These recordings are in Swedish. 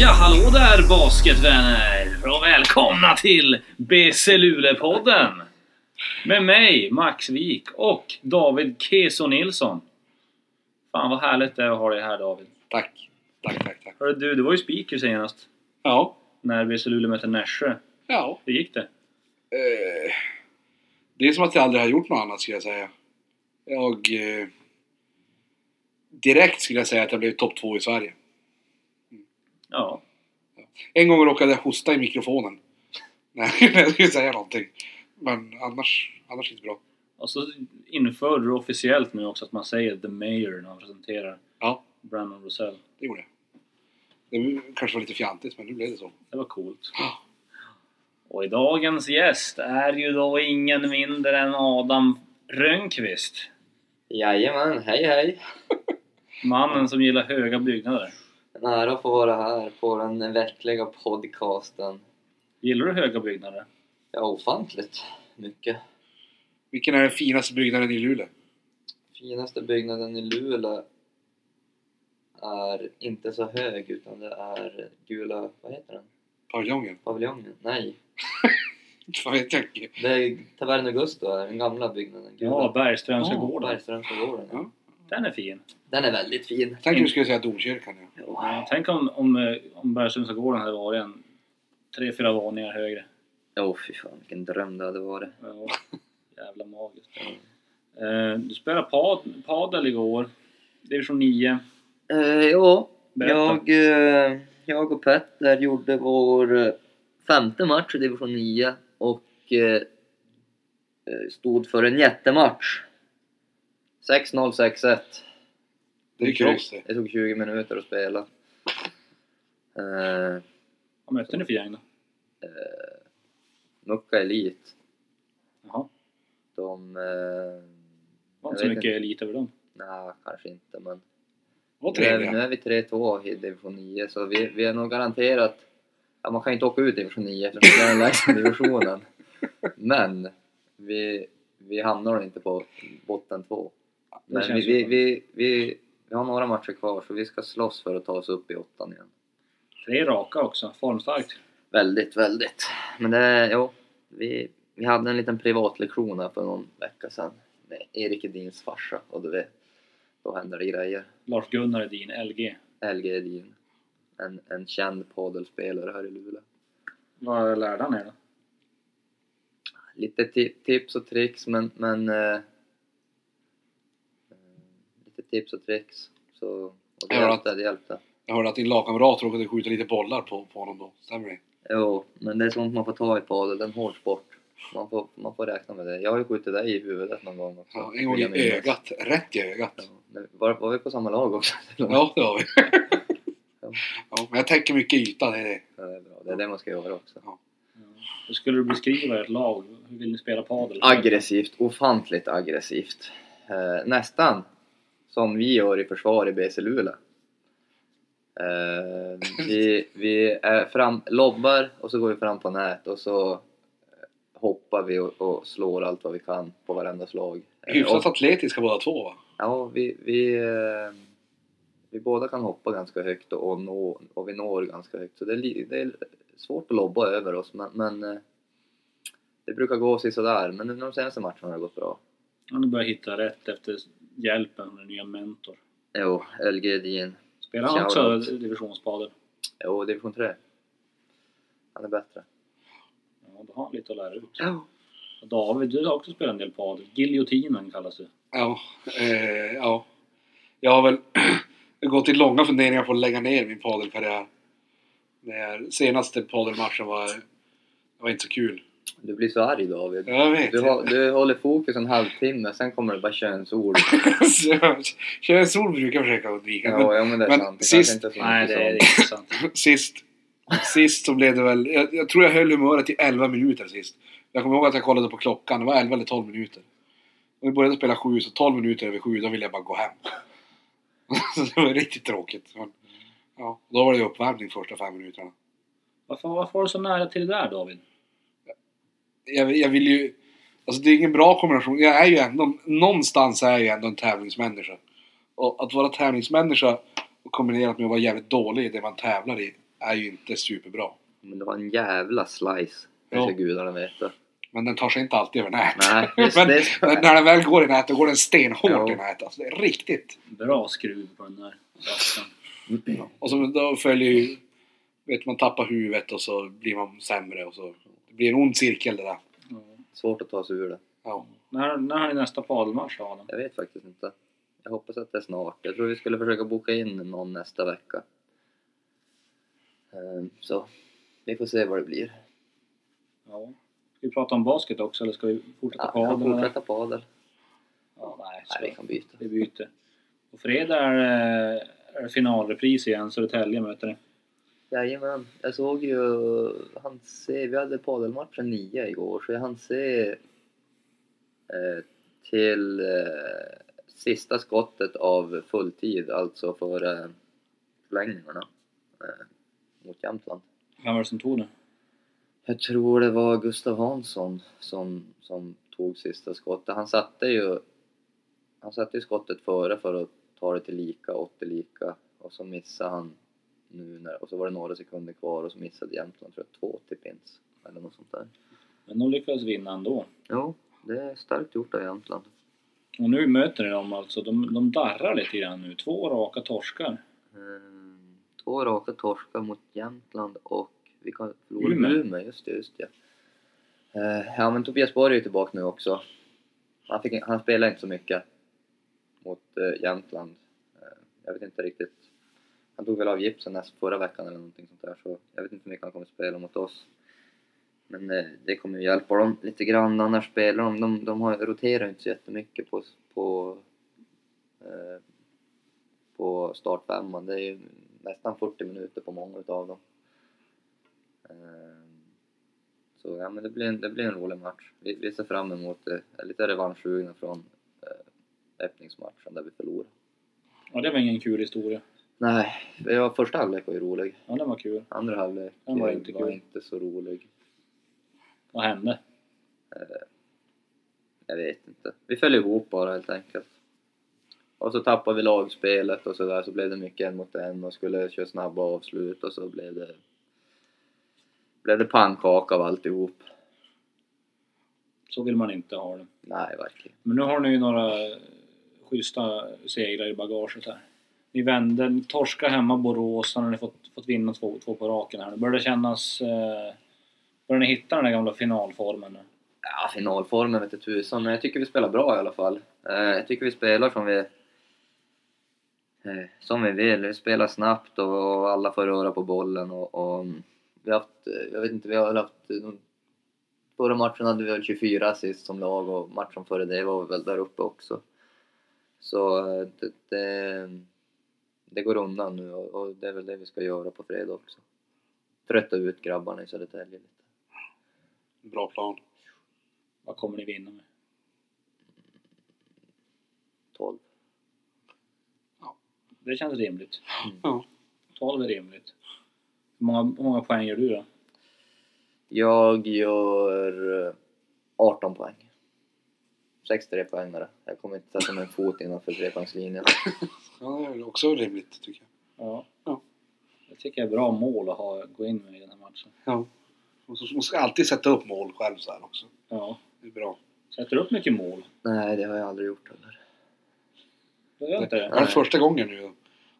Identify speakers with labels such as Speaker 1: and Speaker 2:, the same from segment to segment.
Speaker 1: Ja, hallå där basketvänner! Och välkomna till BC Luleå-podden! Med mig, Max Wik och David Keso Nilsson. Fan vad härligt det är att ha dig här David.
Speaker 2: Tack. Tack, tack, tack.
Speaker 1: Hörru du, du var ju speaker senast.
Speaker 2: Ja.
Speaker 1: När BC Luleå mötte Nässjö.
Speaker 2: Ja.
Speaker 1: Hur gick det?
Speaker 2: Eh, det är som att jag aldrig har gjort något annat skulle jag säga. Jag... Eh, direkt skulle jag säga att jag blev topp två i Sverige.
Speaker 1: Ja.
Speaker 2: En gång råkade jag hosta i mikrofonen. Nej, när jag skulle säga någonting. Men annars, annars inte bra.
Speaker 1: Och så införde du officiellt nu också att man säger The Mayor när man presenterar
Speaker 2: Ja,
Speaker 1: Brandon Rosell.
Speaker 2: det gjorde jag. Det kanske var lite fjantigt, men nu blev det så. Ah,
Speaker 1: Det var coolt.
Speaker 2: Ja.
Speaker 1: Och i dagens gäst är ju då ingen mindre än Adam Rönnqvist.
Speaker 3: Jajamän, hej hej!
Speaker 1: Mannen som gillar höga byggnader.
Speaker 3: En ära att få vara här på den veckliga podcasten.
Speaker 1: Gillar du höga byggnader?
Speaker 3: Ja, ofantligt mycket.
Speaker 2: Vilken är den finaste byggnaden i Luleå?
Speaker 3: Finaste byggnaden i Luleå är inte så hög utan det är gula, vad heter den?
Speaker 2: Paviljongen?
Speaker 3: Paviljongen? Nej,
Speaker 2: Vad vet jag inte.
Speaker 3: det är Tavern Augusta, den gamla byggnaden.
Speaker 1: Ja, Bergströmska
Speaker 2: Ja,
Speaker 1: gården.
Speaker 3: Bergströmska gården.
Speaker 2: Ja.
Speaker 3: Ja.
Speaker 1: Den är fin.
Speaker 3: Den är väldigt fin.
Speaker 2: Tänk om du skulle säga domkyrkan. Ja.
Speaker 1: Ja, Tänk om, om, eh, om Bergströmska gården hade varit en tre, fyra våningar högre.
Speaker 3: Åh fy fan vilken dröm det hade varit.
Speaker 1: Ja, jävla magiskt. Eh, Du spelade pad, padel igår. Division 9.
Speaker 3: Eh, ja,
Speaker 1: Berätta.
Speaker 3: jag, eh, jag och Petter gjorde vår eh, femte match i division 9 och eh, eh, stod för en jättematch. 6-0, 6-1.
Speaker 2: Det är kryss det.
Speaker 3: Det tog 20 minuter att spela. Eh,
Speaker 1: Vad mötte ni för gäng då?
Speaker 3: Mucka Elit,
Speaker 1: Jaha.
Speaker 3: de... Eh,
Speaker 1: Det var inte
Speaker 3: Jag vet
Speaker 1: så mycket
Speaker 3: inte.
Speaker 1: elit över dem.
Speaker 3: nej, kanske inte men...
Speaker 2: Vad
Speaker 3: Nu är, nu
Speaker 2: trevliga.
Speaker 3: är vi 3-2 i division 9 så vi, vi är nog garanterat... Ja, man kan ju inte åka ut i division 9 eftersom det är den lägsta divisionen. Men vi, vi hamnar nog inte på botten 2.
Speaker 1: Det
Speaker 3: Men vi,
Speaker 1: känns
Speaker 3: vi,
Speaker 1: ju
Speaker 3: vi, vi, vi har några matcher kvar så vi ska slåss för att ta oss upp i åttan igen.
Speaker 1: Tre raka också. Formstarkt.
Speaker 3: Väldigt, väldigt. Men det, jo, vi, vi hade en liten privatlektion här för någon vecka sedan med Erik Edins farsa och du vet, då händer det grejer.
Speaker 1: Lars-Gunnar Edin, LG.
Speaker 3: LG Edin. En, en känd padelspelare här i Luleå.
Speaker 1: Vad lärde han er då?
Speaker 3: Lite ti- tips och tricks men... men eh, eh, lite tips och tricks. Så, och det
Speaker 2: Ja.
Speaker 3: hjälpte, det hjälpte.
Speaker 2: Jag hörde att din lagkamrat råkade skjuta lite bollar på, på honom då. Stämmer det?
Speaker 3: Jo, men det är sånt man får ta i padel. Det är en hård sport. Man får, man får räkna med det. Jag har ju skjutit dig i huvudet någon gång också.
Speaker 2: Ja, en gång
Speaker 3: vill jag
Speaker 2: i
Speaker 3: minnas.
Speaker 2: ögat. Rätt i ögat.
Speaker 3: Ja, men Var, var vi på samma lag också?
Speaker 2: Ja, det har vi.
Speaker 3: Ja.
Speaker 2: Ja, men jag tänker mycket yta. Det är det.
Speaker 3: Ja, det är bra. Det är det man ska göra också.
Speaker 1: Hur skulle du beskriva ert lag? Hur vill ni spela padel?
Speaker 3: Aggressivt, ofantligt aggressivt. Eh, nästan som vi gör i försvar i BC Luleå. Eh, vi vi är fram, lobbar och så går vi fram på nät och så eh, hoppar vi och, och slår allt vad vi kan på varenda slag. Eh,
Speaker 2: Hyfsat
Speaker 3: och,
Speaker 2: atletiska båda två va?
Speaker 3: ja, vi, vi, eh, vi båda kan hoppa ganska högt och, och, nå, och vi når ganska högt. Så det är, li- det är svårt att lobba över oss men, men eh, det brukar gå sådär. Men de senaste matcherna har det gått bra.
Speaker 1: Han har börjat hitta rätt efter hjälpen från den nya mentor.
Speaker 3: Jo, LG Edin.
Speaker 1: Spelar han också
Speaker 3: Shoutout.
Speaker 1: divisionspadel?
Speaker 3: Jo, division 3. Han är bättre.
Speaker 1: Ja, då har han lite att lära ut.
Speaker 3: Ja.
Speaker 1: Och David, du har också spelat en del padel. Giljotinen kallas det.
Speaker 2: Ja. Eh, ja. Jag har väl gått i långa funderingar på att lägga ner min padelkarriär. Den här senaste padelmatchen var, det var inte så kul.
Speaker 3: Du blir så arg David.
Speaker 2: Jag vet.
Speaker 3: Du, har, du håller fokus en halvtimme, sen kommer det bara könsord.
Speaker 2: Könsord brukar jag försöka undvika. men-
Speaker 3: Ja, ja men det är
Speaker 2: men
Speaker 3: sant. Det
Speaker 2: sist-
Speaker 3: kanske inte är så
Speaker 1: Nej,
Speaker 3: mycket
Speaker 1: det är
Speaker 3: sånt.
Speaker 1: intressant.
Speaker 2: Sist, sist så blev det väl... Jag, jag tror jag höll humöret i 11 minuter sist. Jag kommer ihåg att jag kollade på klockan. Det var 11 eller 12 minuter. Och vi började spela 7, så 12 minuter över 7, då ville jag bara gå hem. så det var riktigt tråkigt. Men, ja, då var det ju uppvärmning första fem minuterna.
Speaker 1: Varför, varför var du så nära till det där David?
Speaker 2: Jag, jag vill ju... Alltså det är ingen bra kombination. Jag är ju ändå... Någonstans är jag ju ändå en tävlingsmänniska. Och att vara tävlingsmänniska kombinerat med att vara jävligt dålig i det man tävlar i. är ju inte superbra.
Speaker 3: Men det var en jävla slice. Det
Speaker 2: Ja.
Speaker 3: ska gudarna veta.
Speaker 2: Men den tar sig inte alltid över nät.
Speaker 3: Nej, visst,
Speaker 2: Men
Speaker 3: det ska-
Speaker 2: när den väl går i nät, då går den stenhårt
Speaker 3: Ja.
Speaker 2: i nät. Alltså, det är riktigt.
Speaker 1: Bra skruv på den där rasten.
Speaker 2: Och så, då följer ju... Vet, man tappar huvudet och så blir man sämre och så... Det blir en ond cirkel det där.
Speaker 1: Ja.
Speaker 3: Svårt att ta sig ur det.
Speaker 2: Ja.
Speaker 1: När, när är nästa padelmatch då Adam?
Speaker 3: Jag vet faktiskt inte. Jag hoppas att det är snart. Jag tror vi skulle försöka boka in någon nästa vecka. Ehm, Så vi får se vad det blir.
Speaker 1: Ja. Ska vi prata om basket också eller ska vi fortsätta
Speaker 3: Ja,
Speaker 1: padel?
Speaker 3: jag
Speaker 1: eller?
Speaker 3: fortsätter på adel.
Speaker 1: Ja, nej,
Speaker 3: Nej, vi
Speaker 1: så
Speaker 3: kan byta.
Speaker 1: vi byter. På fredag är, det- är det finalrepris igen, Södertälje möter det.
Speaker 3: Jajamän. Jag såg ju... Han se, vi hade padelmatchen nio igår, så jag hann se eh, till eh, sista skottet av fulltid, alltså för eh, förlängningarna eh, mot Jämtland.
Speaker 1: Vem var det som tog det?
Speaker 3: Jag tror det var Gustav Hansson som, som tog sista skottet. Han satte ju han satte ju skottet före för att ta det till lika, åt det lika och så missade han nu när, och så var det några sekunder kvar och så missade Jämtland tror jag två till pins eller något sånt där.
Speaker 1: Men de lyckades vinna ändå.
Speaker 3: Jo, det är starkt gjort av Jämtland.
Speaker 1: Och nu möter de dem alltså. De, de darrar lite grann nu. Två raka torskar.
Speaker 3: Ehm, Två raka torskar mot Jämtland och vi kan förlora
Speaker 1: Umeå.
Speaker 3: Umeå, just det, just det. Eh, Ja men Tobias Borg är ju tillbaka nu också. Han, fick, han spelar inte så mycket mot eh, Jämtland. Eh, jag vet inte riktigt. Han tog väl av gipsen näst förra veckan eller någonting sånt där så jag vet inte hur mycket han kommer spela mot oss. Men eh, det kommer ju hjälpa dem lite grann annars spelar de, de, de har, roterar inte så jättemycket på, på eh, på startfemman. Det är ju nästan 40 minuter på många utav dem. Ehm, Så ja, men det blir en, det blir en rolig match. Vi, vi ser fram emot det. Jag är lite revanschsugna från eh, öppningsmatchen där vi förlorade.
Speaker 1: Ja, det var ingen kul historia.
Speaker 3: Nej, det var första halvlek var ju rolig.
Speaker 1: Ja, den var kul.
Speaker 3: Andra halvlek
Speaker 1: Den var inte
Speaker 3: var
Speaker 1: kul.
Speaker 3: inte så rolig. Eh,
Speaker 1: Vad hände?
Speaker 3: Jag vet inte. Vi föll ihop bara helt enkelt. Och så tappade vi lagspelet och sådär, så blev det mycket en mot en och skulle köra snabba avslut och så blev det... Blev det pannkaka av alltihop.
Speaker 1: Så vill man inte ha det.
Speaker 3: Nej, verkligen.
Speaker 1: Men nu har ni ju några schyssta segrar i bagaget här. Ni vände, ni torskade hemma Borås, sen har ni fått, fått vinna två, två på raken här. Nu börjar det kännas... Eh, börjar ni hitta den där gamla finalformen nu?
Speaker 3: Ja, finalformen vete tusan, men jag tycker vi spelar bra i alla fall. Eh, jag tycker vi spelar som vi... Eh, som vi vill. Vi spelar snabbt och, och alla får röra på bollen och... och mm, vi har haft, eh, jag vet inte, vi har väl haft... De, förra matchen hade vi väl 24 assist som lag och matchen före det var vi väl där uppe också. Så eh, det, det, det går undan nu och, och det är väl det vi ska göra på fredag också. Trötta ut grabbarna i Södertälje lite.
Speaker 2: Bra plan.
Speaker 1: Vad kommer ni vinna med?
Speaker 3: 12.
Speaker 1: Det känns rimligt.
Speaker 2: Ja.
Speaker 1: 12 är rimligt. Hur många, hur många poäng gör du då?
Speaker 3: Jag gör eh, 18 poäng. 6 trepoängare. Jag kommer inte sätta min fot innanför trepoängslinjen.
Speaker 2: ja, det är väl också rimligt tycker jag.
Speaker 1: Ja.
Speaker 2: Ja.
Speaker 1: Jag tycker det är bra mål att ha, gå in med i den här matchen.
Speaker 2: Ja. Och så måste jag alltid sätta upp mål själv så här också.
Speaker 1: Ja.
Speaker 2: Det är bra.
Speaker 1: Sätter du upp mycket mål?
Speaker 3: Nej, det har jag aldrig gjort heller.
Speaker 1: Du gör inte
Speaker 2: Det
Speaker 1: det?
Speaker 2: är första gången nu.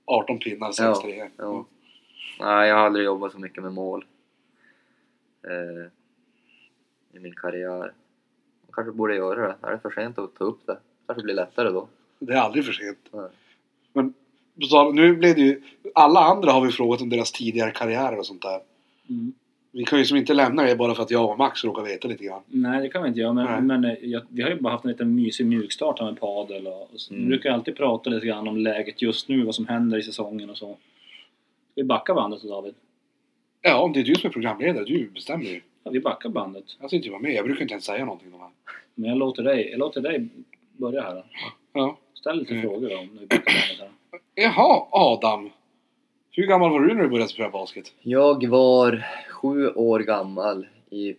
Speaker 2: 18 pinnar, 6
Speaker 3: Ja,
Speaker 2: 3 ja,
Speaker 3: ja. Nej, jag har aldrig jobbat så mycket med mål. Eh, I min karriär. Jag kanske borde göra det. Är det för sent att ta upp det? kanske blir lättare då.
Speaker 2: Det är aldrig för sent.
Speaker 3: Nej.
Speaker 2: Men på tal- nu blev det ju... Alla andra har vi frågat om deras tidigare karriärer och sånt där.
Speaker 1: Mm.
Speaker 2: Vi kan ju som inte lämna det bara för att jag och Max råkar veta lite grann.
Speaker 1: Nej, det kan vi inte göra.
Speaker 2: Nej.
Speaker 1: Men, men eh, jag, vi har ju bara haft en liten mysig mjukstart här med padel. Och, och så,
Speaker 3: Mm.
Speaker 1: Vi brukar alltid prata lite grann om läget just nu, vad som händer i säsongen och så. Ska vi backa bandet då David?
Speaker 2: Ja, om det är du som är programledare, du bestämmer ju.
Speaker 1: Ja, vi backar bandet.
Speaker 2: Jag ska inte vara med, jag brukar inte ens säga någonting om det här.
Speaker 1: Men jag låter dig, jag låter dig börja här då.
Speaker 2: Ja.
Speaker 1: Ställ lite
Speaker 2: Mm.
Speaker 1: frågor då, om när vi backar bandet här.
Speaker 2: Jaha, Adam. Hur gammal var du när du började spela basket?
Speaker 3: Jag var sju år gammal i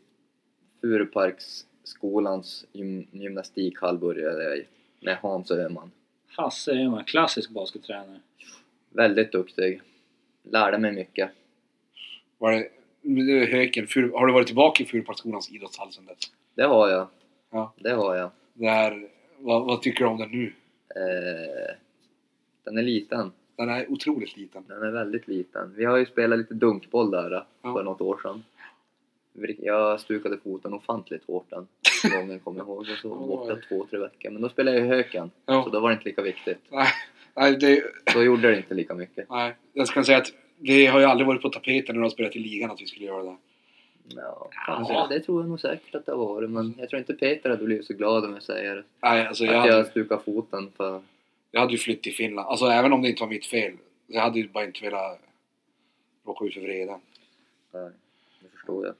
Speaker 3: Furuparksskolans gym- gymnastikhall började jag i med Hans Öhman.
Speaker 1: Hasse är en klassisk baskettränare.
Speaker 3: Väldigt duktig. Lärde mig mycket.
Speaker 2: Var det, det är höken, Furu- har du varit tillbaka i Furupaskolans idrottshall sen dess?
Speaker 3: Det har jag.
Speaker 2: Ja.
Speaker 3: Det har jag.
Speaker 2: Det här, vad, vad tycker du om den nu?
Speaker 3: Eh, den är liten.
Speaker 2: Den är otroligt liten.
Speaker 3: Den är väldigt liten. Vi har ju spelat lite dunkboll där eh,
Speaker 2: Ja.
Speaker 3: för något år sedan. Vi- Jag stukade foten ofantligt hårt den gången, kommer jag ihåg. Jag så var borta
Speaker 2: Oj.
Speaker 3: två, tre veckor. Men då spelade jag i höken, så
Speaker 2: Ja.
Speaker 3: då var det inte lika viktigt.
Speaker 2: Nej, nej, det,
Speaker 3: Då gjorde det inte lika mycket.
Speaker 2: nej, jag ska säga att det har ju aldrig varit på tapeten när de har spelat i ligan att vi skulle göra det.
Speaker 3: Ja, ja, det tror jag nog säkert att det har varit. Men jag tror inte Peter hade blivit så glad om jag säger att
Speaker 2: Nej, alltså jag,
Speaker 3: jag
Speaker 2: hade,
Speaker 3: stukade foten. För...
Speaker 2: jag hade ju flytt till Finland. Alltså även om det inte var mitt fel. Jag hade ju bara inte velat råka ut för vreden.
Speaker 3: Mm. Nej, det förstår jag.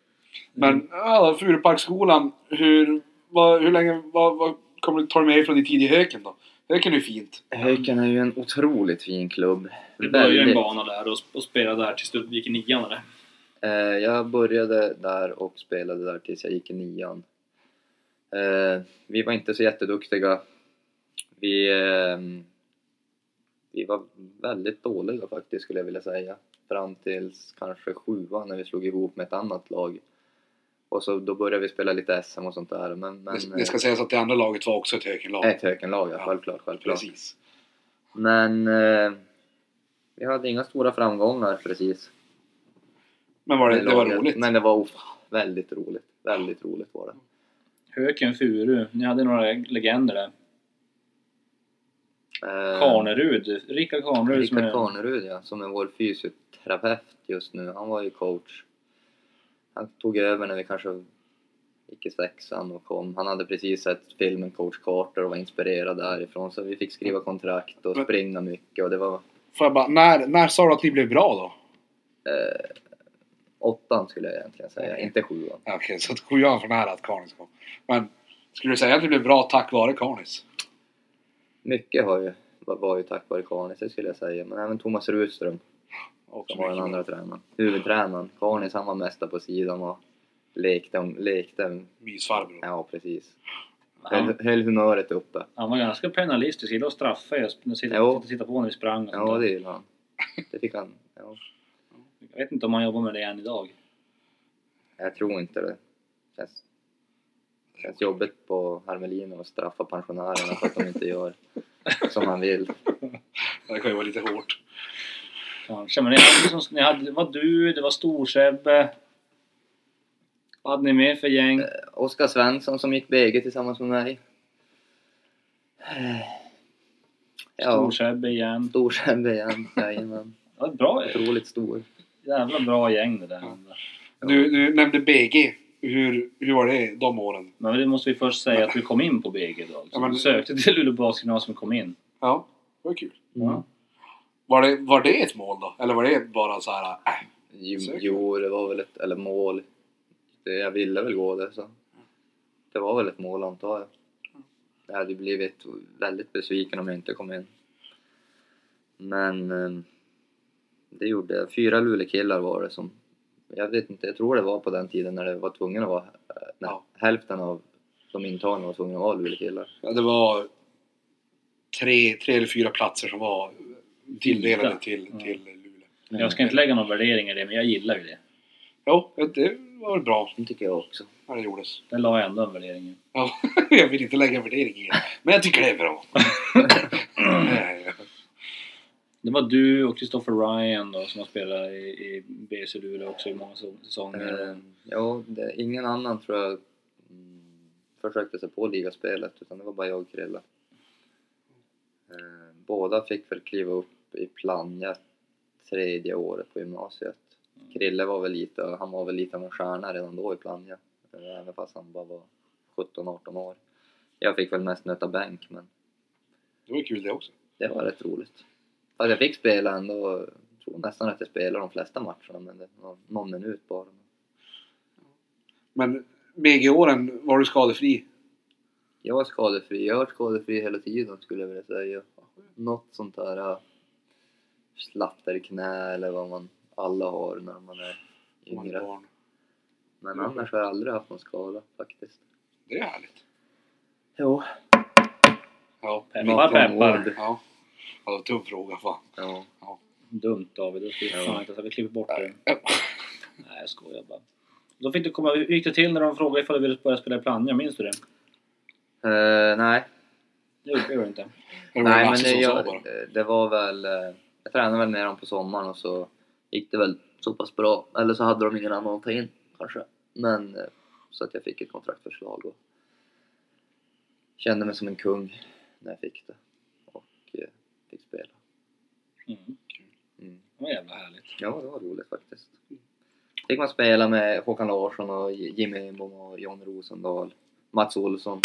Speaker 2: Men ja, Furuparksskolan, hur, vad, hur länge, vad, vad kommer du ta dig med från din tid i Höken då? Höken är ju fint.
Speaker 3: Höken är ju en otroligt fin klubb.
Speaker 1: Det började ju en
Speaker 3: Väldigt.
Speaker 1: bana där och, och spelade där tills du gick i nian eller?
Speaker 3: Eh, jag började där och spelade där tills jag gick i nian. Eh, vi var inte så jätteduktiga. Vi, ehm, vi var väldigt dåliga faktiskt skulle jag vilja säga. Fram tills kanske sjuan när vi slog ihop med ett annat lag. Och så då började vi spela lite SM och sånt där. Men, men
Speaker 2: det, det ska sägas att det andra laget var också ett Hökenlag.
Speaker 3: eh, ett Hökenlag, ja.
Speaker 2: Ja,
Speaker 3: Självklart, självklart.
Speaker 2: Precis.
Speaker 3: Men eh, vi hade inga stora framgångar precis.
Speaker 2: Men var det,
Speaker 3: med
Speaker 2: det var
Speaker 3: laget.
Speaker 2: roligt.
Speaker 3: Men det var of- väldigt roligt. Väldigt roligt var det.
Speaker 1: Höken, Furu. Ni hade några legender där.
Speaker 3: Eh,
Speaker 1: Karnerud. Rickard Karnerud som
Speaker 3: Rickard
Speaker 1: är...
Speaker 3: Karnerud ja, som är vår fysioterapeut just nu. Han var ju coach. Han tog över när vi kanske gick i sexan och kom. Han hade precis sett filmen Coach Carter och var inspirerad därifrån. Så vi fick skriva kontrakt och
Speaker 2: Men-
Speaker 3: springa mycket och det var
Speaker 2: Får jag bara, när, när sa du att ni blev bra då?
Speaker 3: åttan skulle jag egentligen säga, inte sjuan.
Speaker 2: Ja, Okej, så att sjuan för nära att Karnis kom. Men skulle du säga att ni blev bra tack vare Karnis?
Speaker 3: Mycket har ju, var, var ju tack vare Karnis, det skulle jag säga. Men även Thomas Rudström
Speaker 2: Också
Speaker 3: som var den
Speaker 2: mycket
Speaker 3: andra tränaren. Huvudtränaren. Karnis han var mästare på sidan och lekte, om- lekte.
Speaker 2: Mysfarbror.
Speaker 3: Ja, precis.
Speaker 1: Han,
Speaker 3: Höll, höll humöret uppe.
Speaker 1: han var ganska penalistisk. Gillade att straffa er. Sitta,
Speaker 3: Jo.
Speaker 1: sitta, sitta på när vi sprang och sånt
Speaker 3: Ja,
Speaker 1: där.
Speaker 3: det gillade han. Det fick han. Ja.
Speaker 1: Jag vet inte om han jobbar med det än idag.
Speaker 3: Jag tror inte det. Känns, känns jobbigt på Hermelin att straffa pensionärerna för att de inte gör som han vill.
Speaker 2: Det kan ju vara lite hårt.
Speaker 1: Kanske. Men ni hade, liksom, ni hade, det var du, det var Storsebbe. Vad hade ni mer för
Speaker 3: Eh,
Speaker 1: gäng?
Speaker 3: Oskar Svensson som gick BG tillsammans med mig. Ja,
Speaker 1: Storsebbe igen.
Speaker 3: Storsebbe igen. Jajamän.
Speaker 1: Det var ett bra,
Speaker 3: Otroligt stor.
Speaker 1: jävla bra gäng det där.
Speaker 2: Du, du nämnde BG. Hur, hur var det de åren?
Speaker 1: Men det måste vi först säga att vi kom in på BG idag.
Speaker 2: Ja,
Speaker 1: Så
Speaker 2: men-
Speaker 1: liksom. vi sökte till Luleå Basgymnasium och kom in.
Speaker 2: Ja, det var kul.
Speaker 1: Ja.
Speaker 2: Var det, var det ett mål då? Eller var det bara så här... Äh,
Speaker 3: Jo,
Speaker 2: Säkert.
Speaker 3: jo, det var väl ett eller mål. Det, jag ville väl gå det så. Det var väl ett mål antar jag. Jag hade ju blivit väldigt besviken om jag inte kom in. Men eh, det gjorde jag. Fyra Luleåkillar var det som... Jag vet inte, jag tror det var på den tiden när det var tvungen att vara... eh, När
Speaker 2: Ja.
Speaker 3: hälften av de intagna var tvungna att vara Luleåkillar.
Speaker 2: Ja, det var tre, tre eller fyra platser som var tilldelade
Speaker 1: Fyra.
Speaker 2: till,
Speaker 1: Ja.
Speaker 2: till Luleå.
Speaker 3: Mm.
Speaker 1: Jag ska inte lägga någon värdering i det, men jag gillar ju det.
Speaker 2: Jo, det var väl bra
Speaker 3: Det tycker jag också.
Speaker 2: när det gjordes.
Speaker 1: Det la jag ändå en värdering i.
Speaker 2: Ja, jag vill inte lägga värdering i det, men jag tycker det är bra.
Speaker 1: Det var du och Christopher Ryan då, som har spelat i, i BC Luleå också i många so- säsonger.
Speaker 3: Eh, ja, det, ingen annan tror jag mm, försökte sig på ligaspelet utan det var bara jag och Krille. Eh, båda fick väl kliva upp i Plannja tredje året på gymnasiet. Krille var väl lite, han var väl lite av en stjärna redan då i Plannja. eh, Även fast han bara var 17-18 år. Jag fick väl mest nöta bänk men
Speaker 2: Det var kul det också.
Speaker 3: det var rätt roligt. Fast jag fick spela ändå, jag tror nästan att jag spelade de flesta matcherna men det var någon minut bara.
Speaker 2: Men BG-åren var du skadefri.
Speaker 3: Jag var skadefri. Jag har varit skadefri hela tiden skulle jag vilja säga. Något sånt där äh, slattare knä eller vad man alla har när man är
Speaker 2: om man är
Speaker 3: yngre.
Speaker 2: barn.
Speaker 3: Men annars har jag aldrig haft någon skada faktiskt.
Speaker 2: Det är härligt.
Speaker 3: Jo.
Speaker 2: Ja.
Speaker 1: Peppar peppar!
Speaker 2: Ja. ja det var tung fråga. Fan.
Speaker 3: Ja.
Speaker 1: Dumt David, det ska vi fan inte så vi klipper bort det. Nej, jag skojar bara. Då fick du komma, hur gick det till när de frågade ifall du ville börja spela i Plannja? Minns du det?
Speaker 3: Eh, nej,
Speaker 1: Det gjorde jag inte.
Speaker 2: Det var
Speaker 3: nej men
Speaker 2: Lasse
Speaker 3: det,
Speaker 2: som sa
Speaker 3: jag,
Speaker 2: bara.
Speaker 3: det var väl... eh, Jag tränade väl med dem på sommaren och så gick det väl så pass bra. Eller så hade de ingen annan att ta in kanske. Men eh, så att jag fick ett kontraktförslag och kände mig som en kung när jag fick det. Och eh, fick spela.
Speaker 1: Mm.
Speaker 3: Mm.
Speaker 1: Det var jävla härligt.
Speaker 3: Ja, det var roligt faktiskt. Fick man spela med Håkan Larsson och J- Jimmy Enbom och John Rosendahl. Mats Olsson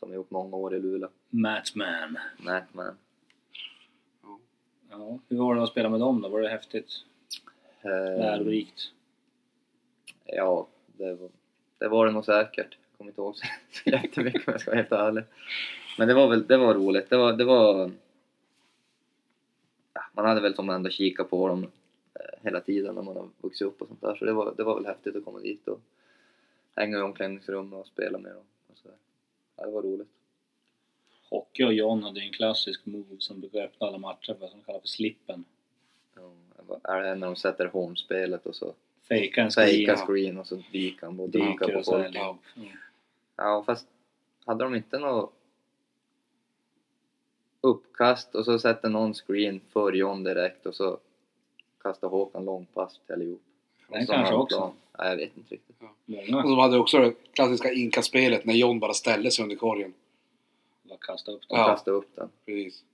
Speaker 3: som har gjort många år i Luleå.
Speaker 1: Matman.
Speaker 3: Nej, men...
Speaker 1: Ja. Hur var det att spela med dem då? Var det häftigt?
Speaker 3: eh,
Speaker 1: Lärorikt?
Speaker 3: Ja, det var det, var det nog säkert. Jag kommer inte ihåg så så jättemycket om jag ska vara helt ärlig. Men det var väl det var roligt. Det var... Det var ja, man hade väl som ändå kikat på dem eh, hela tiden när man har vuxit upp och sånt där. Så det var, det var väl häftigt att komma dit och hänga i omklädningsrummet och spela med dem. Och så där. Ja, det var roligt.
Speaker 1: Hockey och John hade ju en klassisk move som brukar öppna alla matcher för, som kallas för slippen.
Speaker 3: Ja, vad är det när de sätter hornspelet och så
Speaker 1: Fejka en
Speaker 3: fejkar
Speaker 1: screen.
Speaker 3: screen och så dyker han och dyker
Speaker 1: Dyker
Speaker 3: på
Speaker 1: och så här.
Speaker 3: folk.
Speaker 1: liksom.
Speaker 3: Ja, fast hade de inte något uppkast och så sätter någon screen för John direkt och så kastar Håkan långpass till allihop.
Speaker 1: Den
Speaker 3: Och så
Speaker 1: kanske
Speaker 3: har de
Speaker 1: också.
Speaker 3: plan. Nej, jag vet inte riktigt.
Speaker 1: Många
Speaker 2: Och de hade också det klassiska inkastspelet när John bara ställde sig under korgen.
Speaker 1: bara kastade upp
Speaker 3: De
Speaker 1: den.
Speaker 2: Ja.
Speaker 3: kastar upp den.
Speaker 2: Precis.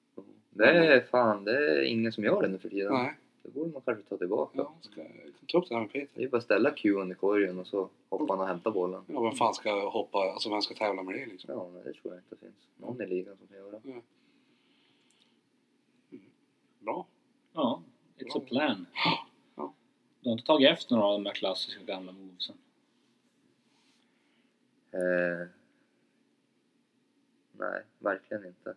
Speaker 3: Det är
Speaker 1: Mm.
Speaker 3: fan, det är ingen som gör det nu för tiden.
Speaker 2: Nej.
Speaker 3: Det borde man kanske ta tillbaka.
Speaker 2: Ja, ska jag ta upp det här med Peter?
Speaker 3: Det är bara att ställa Q under korgen och så hoppar han och hämtar bollen.
Speaker 2: Ja, vem fan ska hoppa, alltså vem ska tävla med det liksom?
Speaker 3: Ja, men det tror jag inte finns någon i ligan som kan göra.
Speaker 2: Bra.
Speaker 1: Ja, it's a plan.
Speaker 2: Ja.
Speaker 1: Du har inte tagit efter några av de här klassiska gamla movesen?
Speaker 3: Eh, nej, verkligen inte.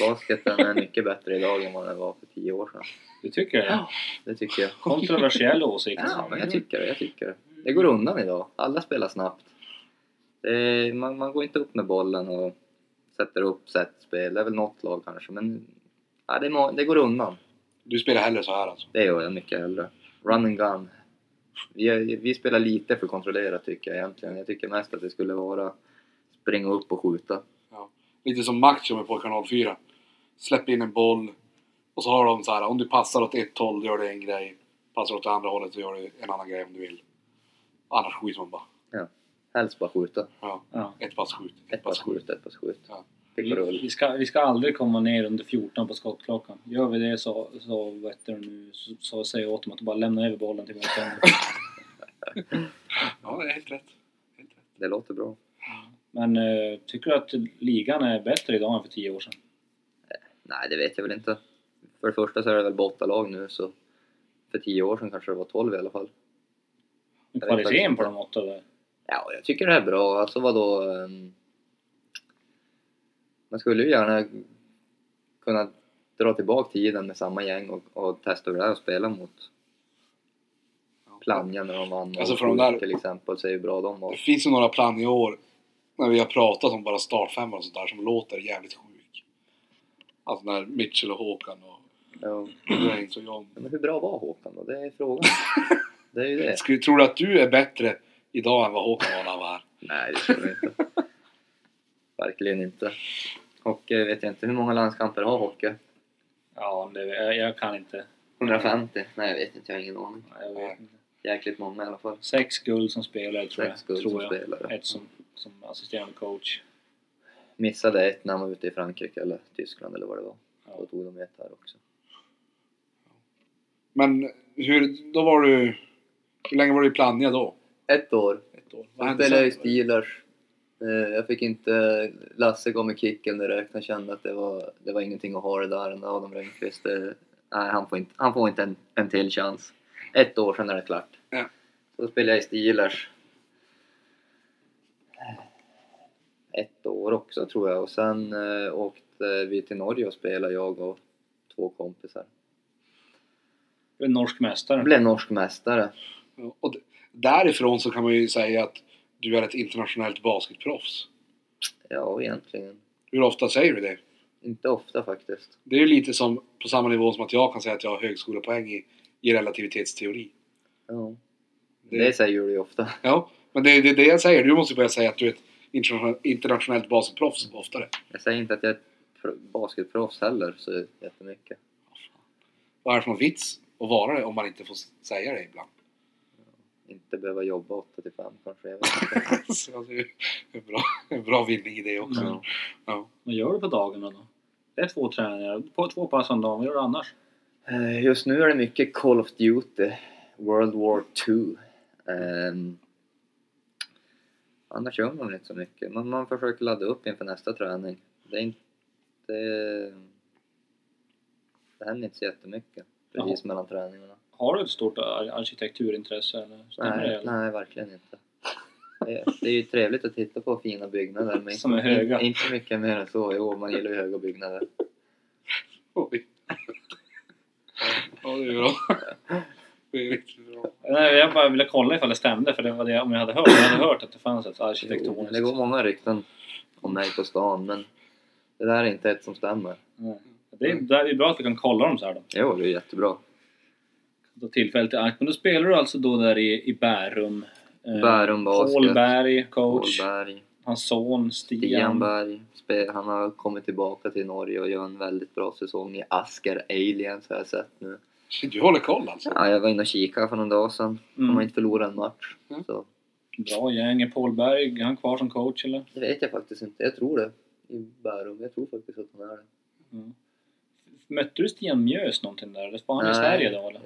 Speaker 3: Basketen är mycket bättre idag än vad den var för tio år sedan.
Speaker 1: Du tycker det?
Speaker 2: Ja.
Speaker 3: Det tycker jag.
Speaker 1: Kontroversiell åsikt.
Speaker 3: Ja, men jag tycker det. Jag tycker det. det går undan idag. Alla spelar snabbt. Eh, man, man går inte upp med bollen och sätter upp setspel. Det är väl något lag kanske, men ja, det, är må- det går undan.
Speaker 2: Du spelar hellre så här alltså?
Speaker 3: Det gör jag mycket hellre. Run and gun. Vi, vi spelar lite för kontrollerat tycker jag egentligen. Jag tycker mest att det skulle vara springa upp och skjuta.
Speaker 2: Lite som Macho med Pojkarna 04. Släpp in en boll och så har de så här, om du passar åt ett håll gör du en grej. Passar åt det andra hållet så gör du en annan grej om du vill. Annars skjuter man bara.
Speaker 3: Helst bara skjuta.
Speaker 2: Ja.
Speaker 1: Ja.
Speaker 2: Ett pass skjut, ett
Speaker 3: Ett pass
Speaker 2: pass skjut.
Speaker 3: skjut, ett pass skjut.
Speaker 2: Ja.
Speaker 3: Fick rull.
Speaker 1: Vi ska, vi ska aldrig komma ner under 14 på skottklockan. Gör vi det så, så, vet du, nu, så, så säger jag åt dem att bara lämna över bollen till motståndaren.
Speaker 2: Ja, det är helt rätt. Helt rätt.
Speaker 3: Det låter bra.
Speaker 1: Men eh, tycker du att ligan är bättre idag än för 10 år sedan?
Speaker 3: Nej, det vet jag väl inte. För det första så är det väl bara åtta lag nu så för tio år sedan kanske det var tolv i alla fall.
Speaker 1: Men
Speaker 3: Jag vet faktiskt
Speaker 1: Kvaliteten på
Speaker 3: inte.
Speaker 1: de åtta där?
Speaker 3: Ja, jag tycker det här är bra. Alltså vadå? ehm, Man skulle ju gärna kunna dra tillbaka tiden med samma gäng och, och testa hur det är att spela mot Plannja när de vann
Speaker 2: Alltså,
Speaker 3: och
Speaker 2: för de där-
Speaker 3: till exempel, så är ju bra de var.
Speaker 2: Det finns ju några plan i år när vi har pratat om bara startfemmor och sånt där som låter jävligt sjuk. Alltså när Mitchell och Håkan och
Speaker 3: Ja.
Speaker 2: Reigns och John.
Speaker 3: Men hur bra var Håkan då? Det är frågan. Det är ju det.
Speaker 2: Skulle, tror du att du är bättre idag än vad Håkan var när han var här?
Speaker 3: Nej, det tror jag inte. Verkligen inte. Hockey vet jag inte. Hur många landskamper har hockey?
Speaker 1: Ja, det, jag, jag kan inte.
Speaker 3: 150? Nej, jag vet inte. Jag har ingen aning.
Speaker 1: Jag vet inte.
Speaker 3: Jäkligt många i alla fall.
Speaker 1: Sex guld som spelare tror jag.
Speaker 3: Sex guld
Speaker 1: tror
Speaker 3: som
Speaker 1: jag.
Speaker 3: spelare.
Speaker 1: Ett som, som assisterande coach.
Speaker 3: Missade ett när man var ute i Frankrike eller Tyskland eller vad det var.
Speaker 1: Ja.
Speaker 3: Då tog de ett här också.
Speaker 2: Men hur, då var du... Hur länge var du i Plannja då?
Speaker 3: Ett år.
Speaker 2: Ett år.
Speaker 3: Jag spelade i Steelers. Eh, Jag fick inte... Lasse gav mig kicken direkt. Han kände att det var, det var ingenting att ha det där. Den där Adam Rönnqvist. eh, Nej, han får inte, han får inte en, en till chans. Ett år sedan är det klart.
Speaker 2: Ja.
Speaker 3: Så då spelade jag i Steelers. Ett år också tror jag. Och sen eh, åkte vi till Norge och spelade, jag och två kompisar.
Speaker 1: Du är norsk mästare.
Speaker 3: Jag blev norsk mästare.
Speaker 2: Ja, Och d- därifrån så kan man ju säga att du är ett internationellt basketproffs.
Speaker 3: Ja, egentligen.
Speaker 2: Hur ofta säger du det?
Speaker 3: Inte ofta faktiskt.
Speaker 2: Det är ju lite som på samma nivå som att jag kan säga att jag har högskolepoäng i, i relativitetsteori.
Speaker 3: Ja.
Speaker 2: Det-
Speaker 3: Det säger du ju ofta.
Speaker 2: Ja, men det är det, är det jag säger. Du måste börja säga att du är ett internationellt, internationellt basketproffs oftare.
Speaker 3: Jag säger inte att jag är ett pro- basketproffs heller så jättemycket.
Speaker 2: Vad är det för någon vits att vara det om man inte får s- säga det ibland?
Speaker 3: Inte behöva jobba 8 till 5 kanske. Jag vet inte.
Speaker 2: Så alltså, det är en bra, en bra vinning i det också.
Speaker 1: Ja.
Speaker 2: Ja.
Speaker 1: Vad gör du på dagarna då? Det är två träningar, på två pass om dagen. Vad gör du annars?
Speaker 3: Eh, Just nu är det mycket Call of Duty, World War 2. Um, annars gör man inte så mycket. Man, man försöker ladda upp inför nästa träning. Det är inte... Det händer inte så jättemycket precis mellan träningarna.
Speaker 1: Har du ett stort ar- arkitekturintresse? Eller? Stämmer det,
Speaker 3: Nej,
Speaker 1: eller?
Speaker 3: nej, verkligen inte. Det, det är ju trevligt att titta på fina byggnader men
Speaker 1: Som är
Speaker 3: inte,
Speaker 1: höga.
Speaker 3: inte, inte mycket mer än så. Jo, man gillar ju höga byggnader.
Speaker 2: Oj. Ja, det är bra. Det är riktigt bra.
Speaker 1: Nej, jag bara ville kolla ifall det stämde, för det var det om jag hade hört. Jag hade hört att det fanns ett
Speaker 3: Jo, det går
Speaker 1: arkitektoniskt.
Speaker 3: många rykten om mig på stan men det där är inte ett som stämmer.
Speaker 1: Nej. Det är, det är bra att vi kan kolla dem så här då.
Speaker 3: Jo, det är jättebra.
Speaker 1: Då tillfället i akt. Men då spelar du alltså då där i, i Bärum. Eh,
Speaker 3: Bärum Basket.
Speaker 1: Paul Berg, coach.
Speaker 3: Ålberg,
Speaker 1: Hans son Stian.
Speaker 3: Stianberg. Spe- Han har kommit tillbaka till Norge och gör en väldigt bra säsong i Asker Aliens har jag sett nu.
Speaker 2: Du håller koll alltså?
Speaker 3: Ja, jag var inne och kikade för någon dag sedan. De har
Speaker 1: Mm.
Speaker 3: inte förlorat en match.
Speaker 2: Mm.
Speaker 3: Så,
Speaker 1: Bra gäng. Är Paul Berg, är han kvar som coach eller?
Speaker 3: det vet jag faktiskt inte. Jag tror det. I Bärum. Jag tror faktiskt att han är det.
Speaker 1: Mm. Mötte du Stian Mjös någonting där? Eller var han i
Speaker 3: Nej.
Speaker 1: Sverige då eller?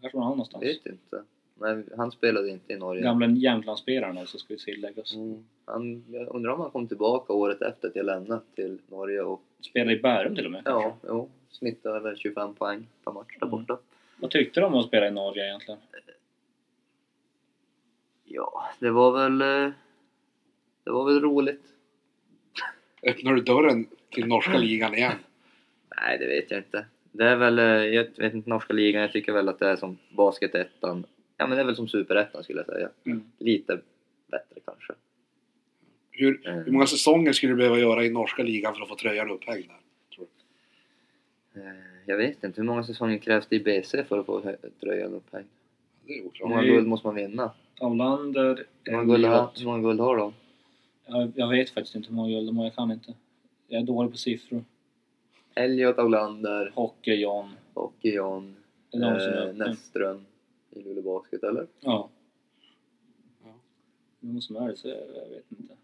Speaker 1: Kanske var han någonstans?
Speaker 2: Alltså.
Speaker 3: Vet inte. Men han spelade inte i Norge.
Speaker 1: Gamla Jämtlandsspelaren också ska vi tillägga oss.
Speaker 3: Mm. Han, jag undrar om han kom tillbaka året efter att jag lämnat till Norge och
Speaker 1: Spelade i Bärum till och med kanske.
Speaker 3: ja, jo, snittade över 25 poäng per match där
Speaker 1: Mm.
Speaker 3: borta.
Speaker 1: Vad tyckte du om att spela i Norge egentligen?
Speaker 3: Ja, det var väl... eh, Det var väl roligt.
Speaker 2: Öppnar du dörren till norska ligan igen?
Speaker 3: Nej, det vet jag inte. Det är väl, eh, jag vet inte, norska ligan, jag tycker väl att det är som basketettan. Ja men det är väl som superettan skulle jag säga.
Speaker 1: Mm.
Speaker 3: Lite bättre kanske.
Speaker 2: Hur,
Speaker 3: Eh,
Speaker 2: hur många säsonger skulle du behöva göra i norska ligan för att få tröjan upphängd där?
Speaker 3: eh, Jag vet inte, hur många säsonger krävs det i BC för att få hö- tröjan upphängd?
Speaker 2: Det är
Speaker 3: Hur
Speaker 2: oklart.
Speaker 3: många
Speaker 1: Nej.
Speaker 3: guld måste man vinna?
Speaker 1: Avlander,
Speaker 3: Hur många guld har,
Speaker 1: Elliot.
Speaker 3: hur många guld har de?
Speaker 1: Jag, jag vet faktiskt inte hur många guld de har. Jag kan inte. Jag är dålig på siffror.
Speaker 3: Elliot Aulander
Speaker 1: Hockey, John.
Speaker 3: och John
Speaker 1: Det är de som är
Speaker 3: eh,
Speaker 1: uppe.
Speaker 3: Näsström i Luleå Basket, eller?
Speaker 1: Ja.
Speaker 2: Ja.
Speaker 1: Det är någon som är det, så jag, jag vet inte.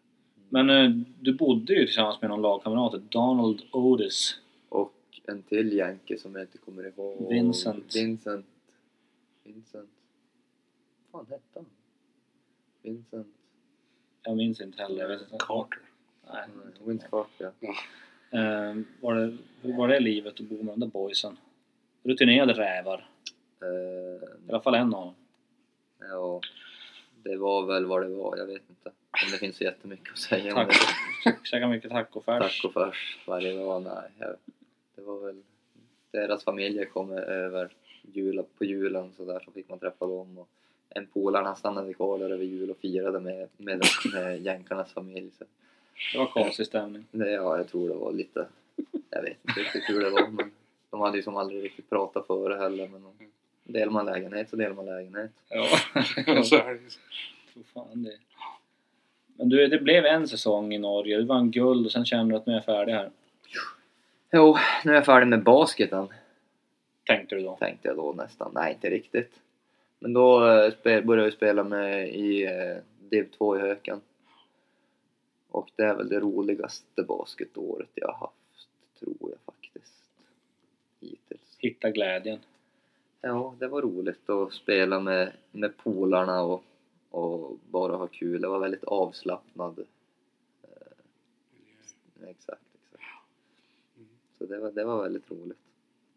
Speaker 1: Men eh, du bodde ju tillsammans med någon lagkamrat, Donald Otis.
Speaker 3: Och en till jänke som jag inte kommer ihåg.
Speaker 1: Vincent.
Speaker 3: Vincent. Vincent. Vad fan hette han? Vincent.
Speaker 1: Jag minns inte heller. Jag vet inte.
Speaker 2: Carter.
Speaker 1: Nej.
Speaker 3: Nej, Vince Carter, ja.
Speaker 1: Eh, var, det, hur var det livet att bo med de där boysen? Rutinerade rävar. I
Speaker 3: Eh,
Speaker 1: alla fall en av dem.
Speaker 3: ja. Det var väl vad det var, jag vet inte. Men det finns så jättemycket att säga om
Speaker 1: Tack.
Speaker 3: det.
Speaker 1: Käkade mycket tacofärs.
Speaker 3: Tack och förs varje dag. Nej, jag- det var väl... Deras familjer kom över jul, på julen så där så fick man träffa dem. Och en polare han stannade kvar där över jul och firade med, med, med jänkarnas familj. Så
Speaker 1: Det var konstig stämning.
Speaker 3: det, ja, jag tror det var lite... Jag vet inte riktigt hur det var men de hade ju som aldrig riktigt pratat före heller men de, delar man lägenhet så delar man lägenhet.
Speaker 1: Ja.
Speaker 2: Så är det.
Speaker 1: Tror fan det. Men du, det blev en säsong i Norge. Du vann guld och sen kände du att nu är jag färdig här.
Speaker 3: Jo, nu är jag färdig med basketen.
Speaker 1: Tänkte du då.
Speaker 3: tänkte jag då nästan. Nej, inte riktigt. Men då eh, spe- började jag spela med i eh, Div 2 i Höken. Och det är väl det roligaste basketåret jag har haft, tror jag faktiskt. Hittills.
Speaker 1: Hitta glädjen.
Speaker 3: Ja, det var roligt att spela med, med polarna och, och bara ha kul. Det var väldigt avslappnad. eh, Exakt, exakt. Så det var, det var väldigt roligt.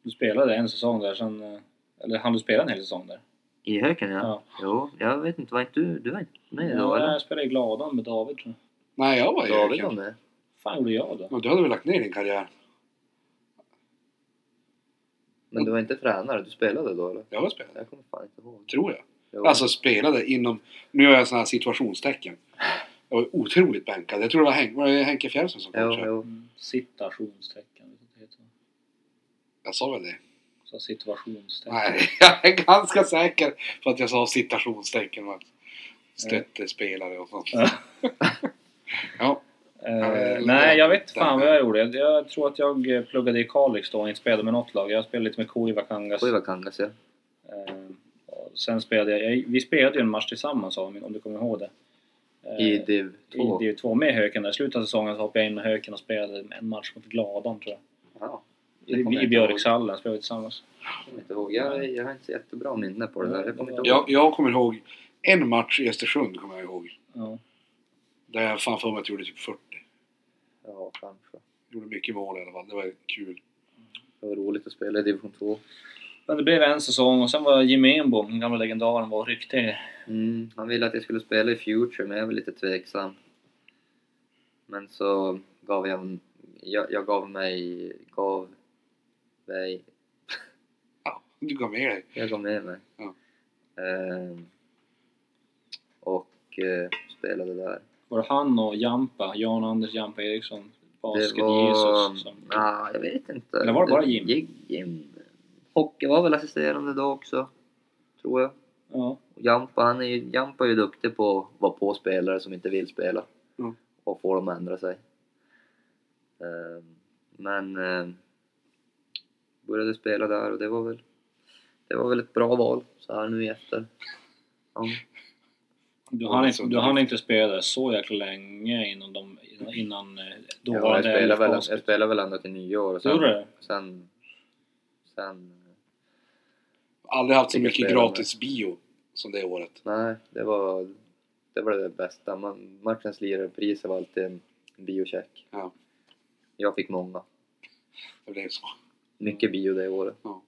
Speaker 1: Du spelade en säsong där, sen... eh, Eller hann du spela en hel säsong där?
Speaker 3: I Höken ja.
Speaker 1: Ja.
Speaker 3: Jo, jag vet inte, var inte du, du var inte med då
Speaker 1: Ja,
Speaker 3: eller?
Speaker 1: jag spelade i Gladan med David tror jag.
Speaker 2: Nej, jag var
Speaker 3: David var
Speaker 2: ju...
Speaker 3: med.
Speaker 1: fan gjorde jag då?
Speaker 2: Men Du hade väl lagt ner din karriär?
Speaker 3: Men du var inte tränare, du spelade då eller?
Speaker 2: Jag har spelat,
Speaker 3: Jag kommer fan inte ihåg.
Speaker 2: tror jag.
Speaker 3: Jo.
Speaker 2: Alltså spelade inom... Nu gör jag såna här situationstecken. Jag var otroligt bänkad. Jag tror det var, Hen- var det Henke Fjällström som
Speaker 3: jo,
Speaker 2: coachade.
Speaker 3: jo.
Speaker 1: Mm. Citationstecken. vet inte vad det heter.
Speaker 2: Jag sa väl det.
Speaker 1: Så Sa situationstecken.
Speaker 2: Nej, jag är ganska säker på att jag sa citationstecken. Mats. Stötte spelare och sånt.
Speaker 1: Ja.
Speaker 2: ja.
Speaker 1: Eh, nej, jag vet fan vad jag gjorde. Jag, jag tror att jag eh, pluggade i Kalix då och inte spelade med något lag. Jag spelade lite med Kuivakangas.
Speaker 3: Kuivakangas ja.
Speaker 1: Eh, och sen spelade jag, jag... Vi spelade ju en match tillsammans om, om du kommer ihåg det. Eh,
Speaker 3: I div 2.
Speaker 1: I DU2 med Höken där. I slutet av säsongen så hoppade jag in med Höken och spelade en match mot Gladan tror jag.
Speaker 3: Ja,
Speaker 1: I,
Speaker 3: det kommer jag
Speaker 1: i
Speaker 3: inte ihåg.
Speaker 1: Björkshallen spelade vi tillsammans.
Speaker 3: Jag kommer inte ihåg. Jag, jag har inte så jättebra minne på det där. Jag kommer inte ihåg.
Speaker 2: Jag, jag kommer ihåg en match i Östersund. Kommer jag ihåg.
Speaker 1: Ja.
Speaker 2: Där jag fan för mig att jag gjorde typ 40.
Speaker 3: Ja, kanske.
Speaker 2: Gjorde mycket mål i alla fall. Det var kul.
Speaker 3: Det var roligt att spela i division 2.
Speaker 1: Men det blev en säsong och sen var Jim Enbom, den gamla legendaren, var och ryckte.
Speaker 3: Mm, han ville att jag skulle spela i Future, men jag var lite tveksam. Men så gav jag, jag, jag gav mig, gav mig,
Speaker 2: Ja, du gav med dig.
Speaker 3: jag gav med mig.
Speaker 2: Ja.
Speaker 3: Ehm, och eh, spelade där.
Speaker 1: Var det han och Jampa, Jan Anders Jampa Eriksson,
Speaker 3: Det
Speaker 1: Basket
Speaker 3: var,
Speaker 1: Jesus? Som,
Speaker 3: ja, jag vet inte.
Speaker 1: Eller var det bara Jim?
Speaker 3: gick Jim. Hockey var väl assisterande då också, tror jag.
Speaker 1: ja.
Speaker 3: Och Jampa, han är ju, Jampa är ju duktig på att vara på spelare som inte vill spela
Speaker 2: Mm.
Speaker 3: och få dem att ändra sig. Ehm, men ehm, började spela där och det var väl det var väl ett bra val så här nu i efter. Ja,
Speaker 1: Du
Speaker 2: Ja,
Speaker 1: hann,
Speaker 2: alltså,
Speaker 1: inte, du
Speaker 2: det-
Speaker 1: hann inte spela där så jäkla länge innan, de, innan eh,
Speaker 3: jag,
Speaker 1: dåvarande
Speaker 3: spelade väl,
Speaker 1: LFK.
Speaker 3: jag spelade väl ända till nyår och
Speaker 1: Du gjorde
Speaker 3: sen,
Speaker 1: det?
Speaker 3: sen, sen...
Speaker 2: Aldrig haft så
Speaker 3: Vilket
Speaker 2: mycket
Speaker 3: spelare.
Speaker 2: gratis bio som det året.
Speaker 3: Nej, det var det, var det bästa. Man, matchens lirarpris var alltid en biocheck.
Speaker 2: Ja,
Speaker 3: Jag fick många.
Speaker 2: det blev så.
Speaker 3: Mycket bio det året.
Speaker 1: Ja.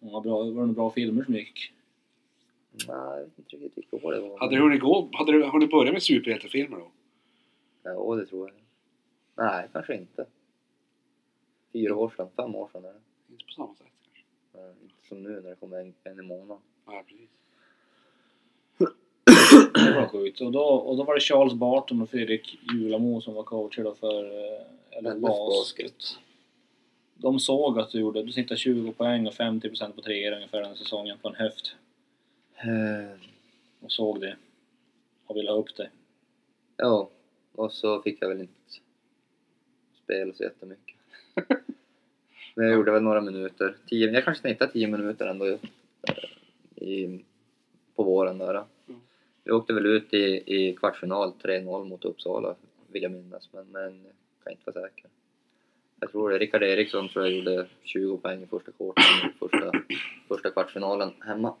Speaker 1: Ja, bra, det var några bra filmer som gick.
Speaker 3: Nej, jag vet inte riktigt vilka år det var.
Speaker 2: Hade du hunnit gå? Hade du, har du börjat med superhjältefilmer då?
Speaker 3: Ja, det tror jag. Nej, kanske inte.
Speaker 1: Mm.
Speaker 3: Fyra år sedan, fem år sedan är det.
Speaker 2: Inte på samma sätt kanske.
Speaker 3: Men Inte som nu när det kommer en, en i månaden.
Speaker 2: Nej, precis.
Speaker 1: Det var sjukt. Och då, och då var det Charles Barton och Fredrik Julamo som var coacher då för eh, LF
Speaker 3: LF
Speaker 1: Basket. De såg att du gjorde, du snittade 20 poäng och 50% på treor ungefär den säsongen på en höft.
Speaker 3: Eh,
Speaker 1: Och såg det. Och ville ha upp det.
Speaker 3: Ja, och så fick jag väl inte spela så jättemycket. Men jag gjorde väl några minuter. Tio, jag kanske snittade tio minuter ändå eh, i, på våren där.
Speaker 2: Mm.
Speaker 3: Vi åkte väl ut i, i kvartsfinal 3-0 mot Uppsala, vill jag minnas. Men, men jag kan inte vara säker. Jag tror det. Rickard Eriksson tror jag gjorde 20 poäng i första korten i första, första kvartsfinalen hemma.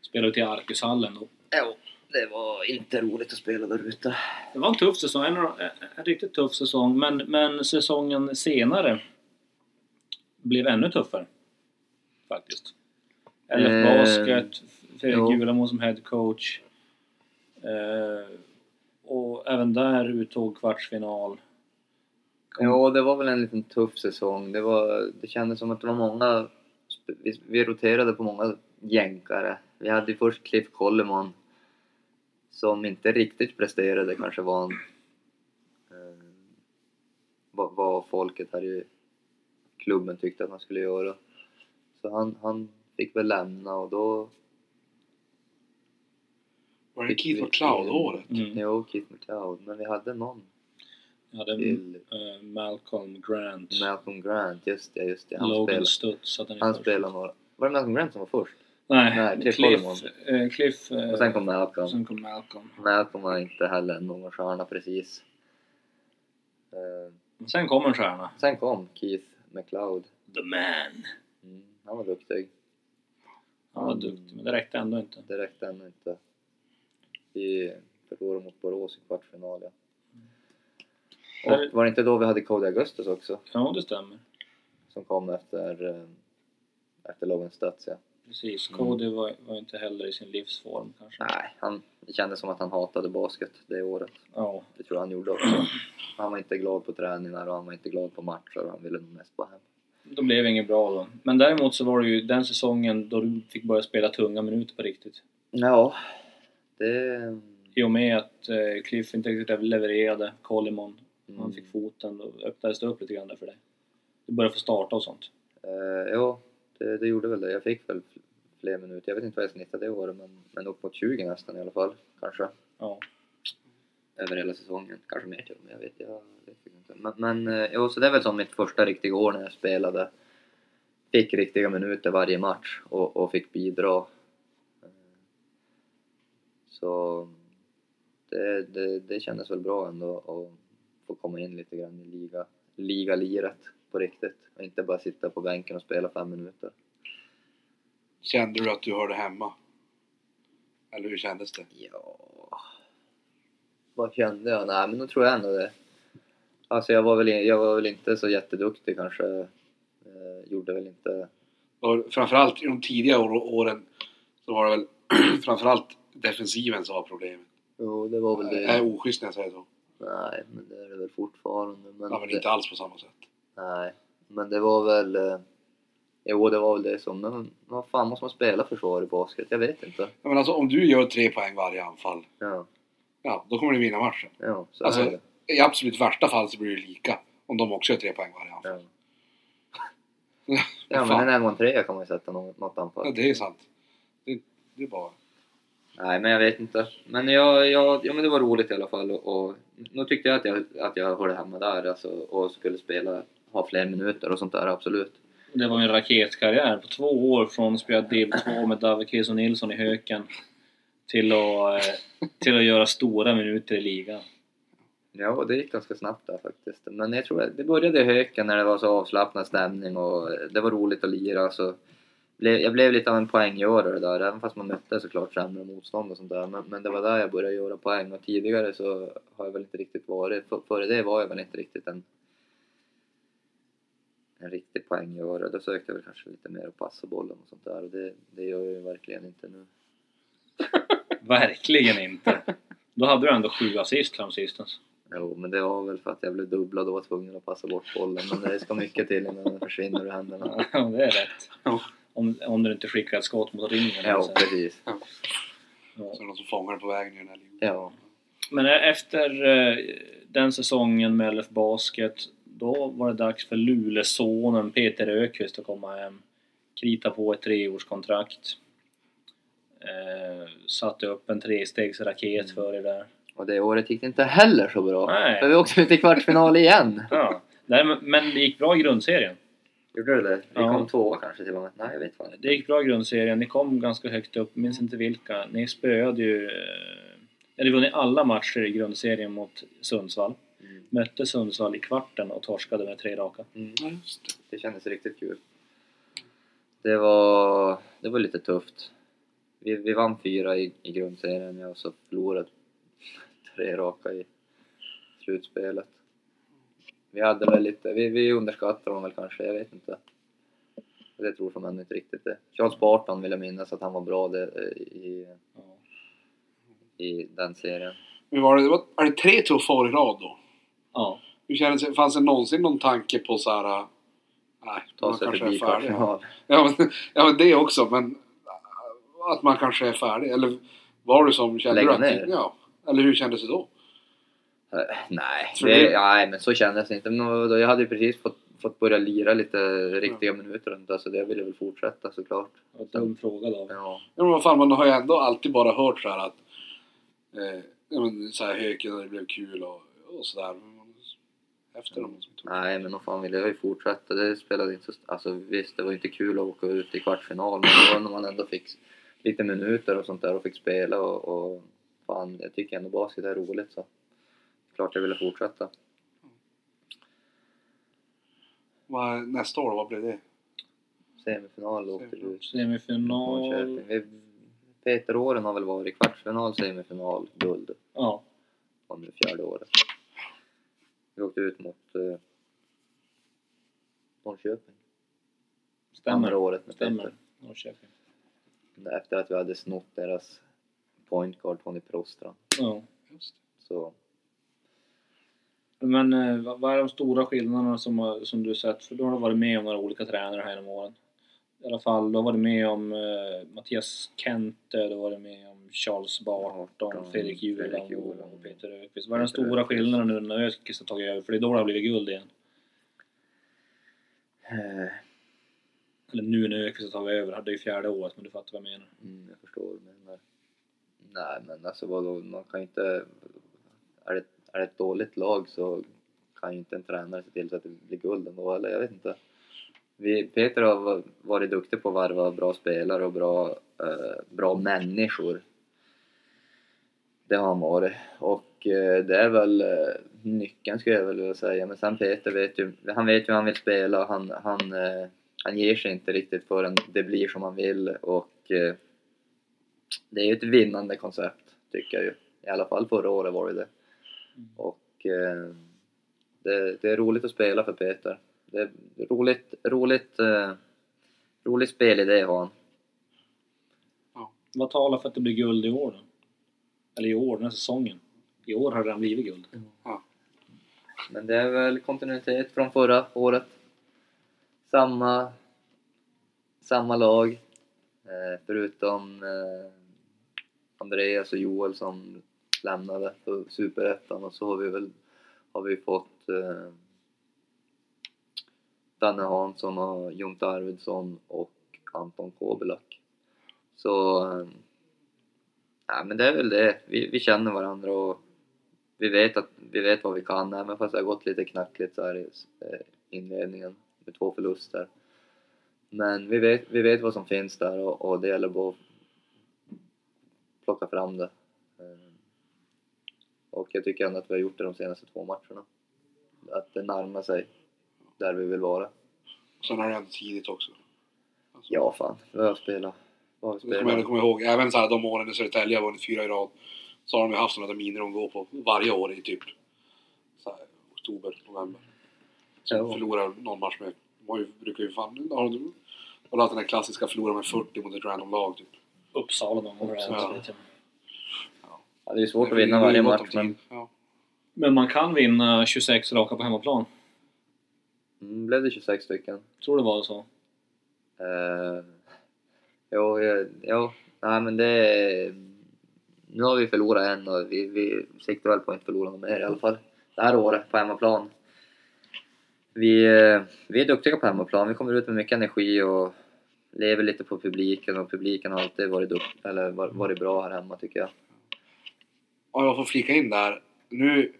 Speaker 1: Spelade ut i Arkushallen då.
Speaker 3: Ja, det var inte roligt att spela där ute.
Speaker 1: Det var en tuff säsong, en, en, en riktigt tuff säsong. Men, men säsongen senare blev ännu tuffare. Faktiskt. LF
Speaker 3: Eh,
Speaker 1: Basket,
Speaker 3: jo.
Speaker 1: Fredrik Gulamo som head coach. Eh, och även där uttog kvartsfinal. Kom-
Speaker 3: Ja, det var väl en liten tuff säsong. Det, var, det kändes som att det var många... Vi, vi roterade på många jänkare. Vi hade ju först Cliff Coleman som inte riktigt presterade kanske var han, eh, vad, vad folket här i klubben tyckte att han skulle göra. Så han, han fick väl lämna och då...
Speaker 2: Var det Keith MacLeod-året?
Speaker 1: Mm.
Speaker 3: Jo, Keith McLeod. Men vi hade någon
Speaker 1: Jag hade
Speaker 3: till
Speaker 1: eh, Malcolm Grant.
Speaker 3: Mm. Malcolm Grant. Just det, just det. Han
Speaker 1: Logan
Speaker 3: spelade,
Speaker 1: Stutz. att är
Speaker 3: han
Speaker 1: först.
Speaker 3: spelade några... Var det Malcolm Grant som var först?
Speaker 1: Nej,
Speaker 3: Nej, Cliff
Speaker 1: Cliff.
Speaker 3: Holman.
Speaker 1: eh, Cliff eh,
Speaker 3: Och sen kom Malcolm.
Speaker 1: sen kom Malcolm.
Speaker 3: Malcolm var inte heller någon stjärna precis. Eh,
Speaker 1: Sen kom en stjärna.
Speaker 3: Sen kom Keith McLeod.
Speaker 1: The man.
Speaker 3: Mm, han var duktig.
Speaker 1: Han var
Speaker 3: Mm.
Speaker 1: duktig, men det räckte ändå inte.
Speaker 3: Det räckte ännu inte. Vi förlorade mot Borås i kvartsfinal, ja.
Speaker 1: Där-
Speaker 3: Och var det inte då vi hade Cody Augustus också?
Speaker 1: Ja, det stämmer.
Speaker 3: Som kom efter, eh, efter Logan Stutz, ja.
Speaker 1: Precis.
Speaker 3: Mm.
Speaker 1: Cody var, var inte heller i sin livsform kanske.
Speaker 3: Nej, han, det kändes som att han hatade basket det året.
Speaker 1: Ja.
Speaker 3: Det tror jag han gjorde också. Han var inte glad på träningar och han var inte glad på matcher och han ville nog mest bara hem.
Speaker 1: Då blev det inget bra då. Men däremot så var det ju den säsongen då du fick börja spela tunga minuter på riktigt.
Speaker 3: Ja, det...
Speaker 1: I och med att eh, Cliff inte riktigt levererade, Colimon, han
Speaker 3: Mm.
Speaker 1: fick foten, då öppnades det upp lite grann där för dig. Du började få starta och sånt.
Speaker 3: Eh, ja, Det, det gjorde väl det. Jag fick väl fler minuter. Jag vet inte vad jag snittade det året men, men upp mot 20 nästan i alla fall. Kanske.
Speaker 1: Ja.
Speaker 3: Över hela säsongen. Kanske mer till och med. Jag vet, jag vet inte. Men, men eh, jo, så det är väl som mitt första riktiga år när jag spelade. Fick riktiga minuter varje match och, och fick bidra. Eh, Så det, det, det kändes väl bra ändå att få komma in lite grann i liga, ligaliret på riktigt och inte bara sitta på bänken och spela fem minuter.
Speaker 2: Kände du att du hörde hemma? Eller hur kändes det?
Speaker 3: Ja... Vad kände jag? Nej, men då tror jag ändå det. Alltså jag var väl, jag var väl inte så jätteduktig kanske. Eh, gjorde väl inte...
Speaker 2: Och framförallt i de tidiga år- åren så var det väl framförallt defensiven som var problemet.
Speaker 3: Jo, det var väl
Speaker 2: Det
Speaker 3: det.
Speaker 2: är oschysst när jag säger så.
Speaker 3: Nej, men det är det väl fortfarande. Men
Speaker 2: Ja, men
Speaker 3: det,
Speaker 2: inte alls på samma sätt.
Speaker 3: nej, men det var väl... Eh, jo, det var väl det som... Men vad fan måste man spela försvar i basket? Jag vet inte.
Speaker 2: Ja, men alltså om du gör tre poäng varje anfall,
Speaker 3: Ja,
Speaker 2: ja då kommer du vinna matchen.
Speaker 3: ja så
Speaker 2: Alltså,
Speaker 3: är det.
Speaker 2: I absolut värsta fall så blir det lika. Om de också gör tre poäng varje anfall.
Speaker 3: Ja. ja, men
Speaker 2: Fan.
Speaker 3: en en mot tre kan man ju sätta något, något anfall.
Speaker 2: Ja, det är sant. Det, det är bara...
Speaker 3: Nej, men jag vet inte. Men, jag, jag, ja, men det var roligt i alla fall och, och nu tyckte jag att jag, att jag hörde hemma där alltså, och skulle spela, ha fler minuter och sånt där, absolut.
Speaker 1: Det var en raketkarriär på två år från att spela Div 2 med David Kiso Nilsson i Höken till att, eh, till att göra stora minuter i ligan.
Speaker 3: Ja, och det gick ganska snabbt där faktiskt. Men jag tror att det började i Höken när det var så avslappnad stämning och det var roligt att lira. Så blev, jag blev lite av en poänggörare där, även fast man mötte såklart sämre motstånd och sånt där. Men, men det var där jag började göra poäng och tidigare så har jag väl inte riktigt varit, för, före det var jag väl inte riktigt en en riktig poänggörare. Då sökte jag väl kanske lite mer att passa bollen och sånt där och det, det gör jag ju verkligen inte nu.
Speaker 1: Verkligen inte! Då hade du ändå sju assist framsistens.
Speaker 3: Jo, men det var väl för att jag blev dubblad och var tvungen att passa bort bollen. Men det ska mycket till innan den försvinner ur händerna.
Speaker 1: Ja, det är rätt.
Speaker 2: Ja.
Speaker 1: Om, om du inte skickar ett skott mot ringen. eller
Speaker 3: Ja,
Speaker 1: så.
Speaker 3: precis.
Speaker 1: Ja.
Speaker 2: Så är det någon som fångar den på vägen i den här ligan.
Speaker 3: Ja.
Speaker 1: Men efter eh, den säsongen med LF Basket, då var det dags för Lulesonen Peter Ökvist att komma hem. Krita på ett treårskontrakt. Eh, satte upp en trestegsraket
Speaker 3: Mm.
Speaker 1: för er där.
Speaker 3: Och det året gick det inte heller så bra.
Speaker 1: Nej.
Speaker 3: För vi åkte ut i kvartsfinal igen.
Speaker 1: Ja. Nej, men- men det gick bra i grundserien.
Speaker 3: Gjorde du det? Vi
Speaker 1: Ja.
Speaker 3: kom tvåa kanske till och med. Nej, jag vet fan inte.
Speaker 1: Det gick bra i grundserien. Ni kom ganska högt upp, minns inte vilka. Ni spöade ju... eh, Eller vunnit alla matcher i grundserien mot Sundsvall.
Speaker 3: Mm.
Speaker 1: Mötte Sundsvall i kvarten och torskade med tre raka.
Speaker 3: Mm.
Speaker 2: Ja, just det.
Speaker 3: Det kändes riktigt kul. Det var, det var lite tufft. Vi, vi vann fyra i, i grundserien ja, och så förlorade tre raka i slutspelet. Vi hade väl lite, vi, vi underskattade dem väl kanske, jag vet inte. Det tror som ännu inte riktigt det. Charles Barton vill jag minnas att han var bra det, eh, i,
Speaker 1: Ja.
Speaker 3: i den serien.
Speaker 2: Men var det, det var, är det tre tuffa år i rad då?
Speaker 1: ja.
Speaker 2: Hur kändes det? Fanns det någonsin någon tanke på så här... äh, Nej,
Speaker 3: Ta
Speaker 2: man
Speaker 3: sig
Speaker 2: kanske
Speaker 3: förbi
Speaker 2: är färdig.
Speaker 3: kvartsfinal.
Speaker 2: Ja men, ja, men det också. Men äh, att man kanske är färdig. Eller var det som kände
Speaker 3: Lägga
Speaker 2: du att...
Speaker 3: ner?
Speaker 2: Ja. Eller hur kändes det då?
Speaker 3: Eh, Nej,
Speaker 2: Tror
Speaker 3: det,
Speaker 2: du?
Speaker 3: nej, men så kändes det inte. Men vadå, jag hade ju precis fått, fått börja lira lite riktiga minuter och sånt där, så det ville jag väl fortsätta såklart.
Speaker 1: Det var en dum fråga då.
Speaker 3: Ja,
Speaker 2: Ja, men vad fan, man har ju ändå alltid bara hört så här att... Eh, ja, men så här Höken och det blev kul och, och sådär. Men man- Efter dem som tog.
Speaker 3: nej, men vad fan ville jag ju fortsätta. Det spelade inte så... Alltså visst, det var ju inte kul att åka ut i kvartsfinal, men det var när man ändå fick lite minuter och sånt där och fick spela och, och fan, jag tycker ändå basket är roligt så klart jag ville fortsätta.
Speaker 2: Vad, nästa år, vad blev det?
Speaker 3: Semifinal åkte vi ut.
Speaker 1: Semifinal...
Speaker 3: Norrköping. Vi- Peter Åren har väl varit kvartsfinal, semifinal, guld.
Speaker 1: Ja.
Speaker 3: om det fjärde året. Vi åkte ut mot eh, Norrköping. Andra
Speaker 1: Stämmer.
Speaker 3: året med
Speaker 1: Stämmer.
Speaker 3: Peter.
Speaker 1: Norrköping.
Speaker 3: Efter att vi hade snott deras point guard Tony Prostran.
Speaker 1: Ja.
Speaker 2: Just
Speaker 3: Så
Speaker 1: Men eh, vad vad är de stora skillnaderna som, har- som du sett? För du har varit med om några olika tränare här genom åren. I alla fall, du har varit med om eh, Mattias Kente, du har varit med om Charles Barton,
Speaker 3: Barton,
Speaker 1: Fredrik
Speaker 3: Fredrik
Speaker 1: Juland
Speaker 3: Juland.
Speaker 1: och Peter Öqvist. Vad är den
Speaker 3: Peter
Speaker 1: stora
Speaker 3: Öqvist.
Speaker 1: skillnaden nu när Öqvist har tagit över? För det är då det har blivit guld igen.
Speaker 3: eh,
Speaker 1: Eller nu när ÖK tar vi över, hade ju fjärde året men du fattar vad jag menar.
Speaker 3: Mm, jag förstår. Men, nej, men alltså vadå, man kan ju inte... Är det, är det ett dåligt lag så kan ju inte en tränare se till så att det blir guld ändå, eller jag vet inte. Vi, Peter har varit duktig på att varva bra spelare och bra, eh, bra människor. Det har han varit. Och eh, det är väl eh, nyckeln skulle jag väl vilja säga. Men sen Peter vet ju, han vet ju hur han vill spela. och Han, han, eh, han ger sig inte riktigt förrän det blir som han vill. Och eh, det är ju ett vinnande koncept, tycker jag ju. I alla fall förra året var det det. Mm. Och eh, det, det är roligt att spela för Peter. Det är roligt, roligt, eh, rolig spelidé har han.
Speaker 1: Vad talar för att det blir guld i år då? Eller i år, den här säsongen. I år har det redan blivit guld.
Speaker 3: Men det är väl kontinuitet från förra året. Samma, samma lag. Eh, förutom eh, Andreas och Joel som lämnade för Superettan och så har vi väl har vi fått eh, Danne Hansson och Jonte Arvidsson och Anton Kobelak. Så... Eh, nej, men det är väl det. Vi, vi känner varandra och vi vet, att, vi vet vad vi kan, även fast det har gått lite knackligt så här i eh, inledningen med två förluster. Men vi vet, vi vet vad som finns där och, och det gäller bara att plocka fram det. Eh, Och jag tycker ändå att vi har gjort det de senaste två matcherna. Att det närmar sig där vi vill vara.
Speaker 2: Sen är det ändå tidigt också. Alltså-
Speaker 3: Ja, fan. Vi har spelat. Vad har vi
Speaker 2: Det kommer jag
Speaker 3: spelat?
Speaker 2: komma ihåg. Även så här, de åren när Södertälje har vunnit fyra i rad så har de ju haft sådana där miner de går på varje år i typ så här, oktober, november. Så
Speaker 3: Ja.
Speaker 2: förlorar någon match med... De har ju, brukar ju fan... Har de har haft den här klassiska förlora med 40 mot ett random lag typ.
Speaker 1: Uppsala någon gång.
Speaker 2: Uppsala.
Speaker 3: Ja, det är svårt att
Speaker 2: Det är
Speaker 3: vinna
Speaker 2: ju
Speaker 3: varje
Speaker 2: gott om
Speaker 3: match,
Speaker 2: tid.
Speaker 3: men
Speaker 2: Ja.
Speaker 1: Men man kan vinna 26 raka på hemmaplan.
Speaker 3: mm, blev det 26 stycken?
Speaker 1: Tror det var så.
Speaker 3: Uh, jo, eh, jo, nej men det... Nu har vi förlorat en och vi, vi siktar väl på att inte förlora någon mer i alla fall. Det här året på hemmaplan. Vi, eh, vi är duktiga på hemmaplan, vi kommer ut med mycket energi och lever lite på publiken och publiken har alltid varit, dukt, eller var- varit bra här hemma tycker jag.
Speaker 2: Om jag får flika in där. Nu,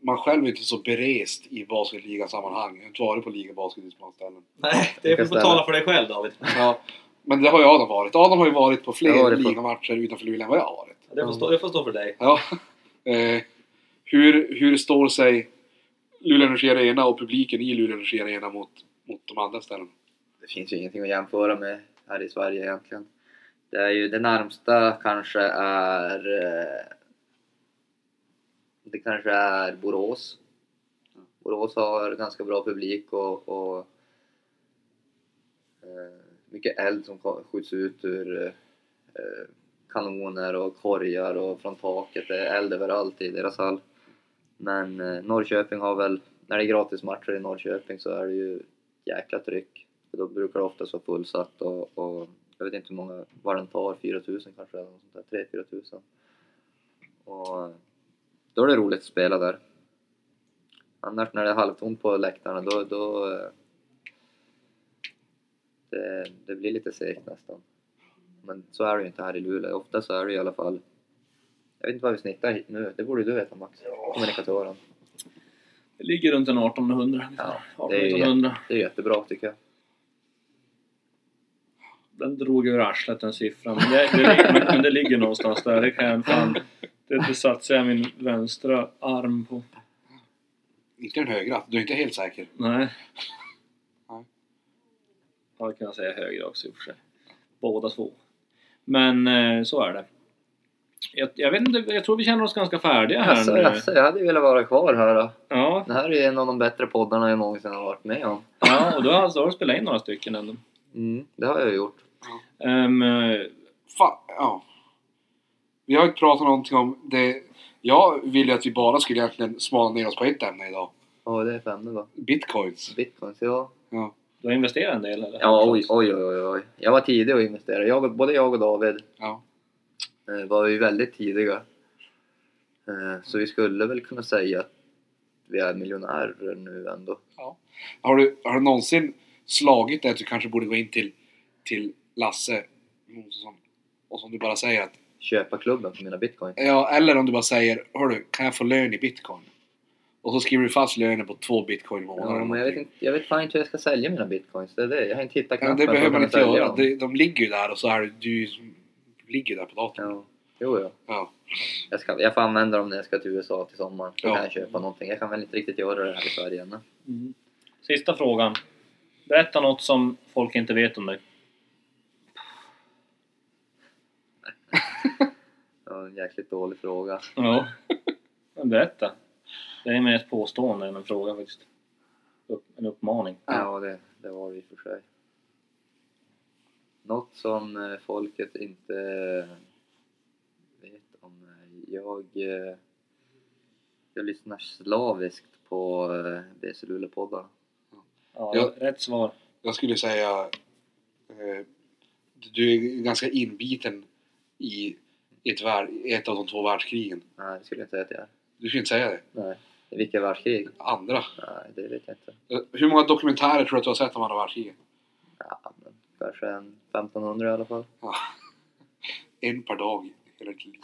Speaker 2: man själv är inte så berest i basketligasammanhang. Jag har inte varit på ligabasket i så många ställen.
Speaker 4: Nej, det
Speaker 3: kan
Speaker 4: får
Speaker 3: ställa.
Speaker 4: tala för dig själv David.
Speaker 2: Ja, men det har ju Adam varit. Adam har ju varit på
Speaker 3: Jag har
Speaker 2: fler
Speaker 3: varit på-
Speaker 2: ligamatcher utanför Luleå än vad jag har varit.
Speaker 4: Det får stå, det får stå för dig.
Speaker 2: Ja. Eh, hur, hur står sig Luleå Energi Arena och publiken i Luleå Energi Arena mot, mot de andra ställena?
Speaker 3: det finns ju ingenting att jämföra med här i Sverige egentligen. Det är ju det närmsta kanske är eh, det kanske är Borås. Borås har ganska bra publik och, och eh, mycket eld som ko- skjuts ut ur eh, eh, kanoner och korgar och från taket. Det är eld överallt i deras hall. Men eh, Norrköping har väl, när det är gratismatcher i Norrköping så är det ju jäkla tryck. För då brukar det oftast vara fullsatt och, och jag vet inte hur många, vad den tar, 4000 kanske eller något sånt där, 3-4 tusen. Och då är det roligt att spela där. Annars när det är halvtomt på läktarna då, då eh, det, det blir lite segt nästan. Men så är det ju inte här i Luleå. Ofta så är det i alla fall jag vet inte vad vi snittar hit nu, det borde du veta Max, kommunikatören.
Speaker 1: Det ligger runt en 1800
Speaker 3: Ja,
Speaker 1: ungefär.
Speaker 3: det är ju
Speaker 1: 1800.
Speaker 3: Det är jättebra tycker jag.
Speaker 1: Den drog ur arslet den siffran. Men det, det, ligger, men, men det ligger någonstans där. Det kan jag fan... Det, det satsar jag min vänstra arm på.
Speaker 2: Inte den högra, du är inte helt säker.
Speaker 1: Nej.
Speaker 2: Nej.
Speaker 1: Hade kunnat säga högre också i och för sig. Båda två. Men eh, så är det. Jag, jag, vet inte, jag tror vi känner oss ganska färdiga här
Speaker 3: Alltså,
Speaker 1: nu.
Speaker 3: alltså, jag hade ju velat vara kvar här då.
Speaker 1: Ja,
Speaker 3: Det här är en av de bättre poddarna jag någonsin har varit med om.
Speaker 1: ja, och då har, då har du spelat in några stycken ändå.
Speaker 3: Mm, det har jag gjort.
Speaker 1: Ehm, eh,
Speaker 2: Fan, ja. Vi har inte pratat någonting om det. Jag ville att vi bara skulle egentligen smala ner oss på ett ämne idag.
Speaker 3: Ja, det är femte då.
Speaker 2: Bitcoins.
Speaker 3: Bitcoins, ja.
Speaker 2: Ja.
Speaker 1: du har investerat en del eller?
Speaker 3: Ja, oj, oj, oj, oj. Jag var tidig att investera. Jag, både jag och David
Speaker 2: Ja.
Speaker 3: eh, var ju väldigt tidiga. Eh, Så vi skulle väl kunna säga att vi är miljonärer nu ändå.
Speaker 2: Har, du, har du någonsin slagit det att du kanske borde gå in till till Lasse Jonsson. Och som du bara säger att...
Speaker 3: Köpa klubben för mina bitcoin.
Speaker 2: Ja, eller om du bara säger Hörru, kan jag få lön i bitcoin? Och så skriver du fast lönen på två bitcoin i månaden.
Speaker 3: Ja, men jag, vet inte, jag vet fan inte hur jag ska sälja mina bitcoins. Det är det. Jag har inte hittat
Speaker 2: Ja, men
Speaker 3: knappen.
Speaker 2: det behöver
Speaker 3: för
Speaker 2: man
Speaker 3: att
Speaker 2: inte
Speaker 3: kunna sälja
Speaker 2: göra.
Speaker 3: dem.
Speaker 2: De, de ligger ju där och så är det- du, du ligger ju där på datorn.
Speaker 3: Ja. Jo, ja.
Speaker 2: Ja.
Speaker 3: Jag, ska, jag får använda dem när jag ska till USA till sommaren. Då
Speaker 2: Ja.
Speaker 3: kan jag köpa någonting. Jag kan väl inte riktigt göra det här i Sverige ännu.
Speaker 1: Mm. Sista frågan. Berätta något som folk inte vet om dig.
Speaker 3: Det var en jäkligt dålig fråga.
Speaker 1: Ja. Men berätta. Det är mer ett påstående än en fråga faktiskt. Upp, en uppmaning.
Speaker 3: Ja, det, det var det i och för sig. Något som eh, folket inte eh, vet om mig. Jag, eh, jag lyssnar slaviskt på eh, BC Luleå-poddarna.
Speaker 1: Ja,
Speaker 2: Ja.
Speaker 1: Rätt svar.
Speaker 2: Jag skulle säga... Eh, du är ganska inbiten i ett, värld, ett av de två världskrigen.
Speaker 3: Nej, det skulle jag inte säga att jag är.
Speaker 2: Du skulle inte säga det.
Speaker 3: Nej. I vilka världskrig?
Speaker 2: Andra.
Speaker 3: Nej, det vet jag inte.
Speaker 2: Eh, Hur många dokumentärer tror du att du har sett om andra världskriget?
Speaker 3: Ja, men kanske en 1500 i alla fall.
Speaker 2: Ja. En per dag. hela tiden.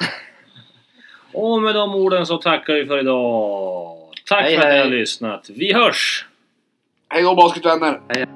Speaker 1: Och med de orden så tackar vi för idag. Tack
Speaker 3: Hej,
Speaker 1: för att ni
Speaker 3: hej.
Speaker 1: har lyssnat. Vi hörs!
Speaker 2: Hej då basketvänner!
Speaker 3: Hej.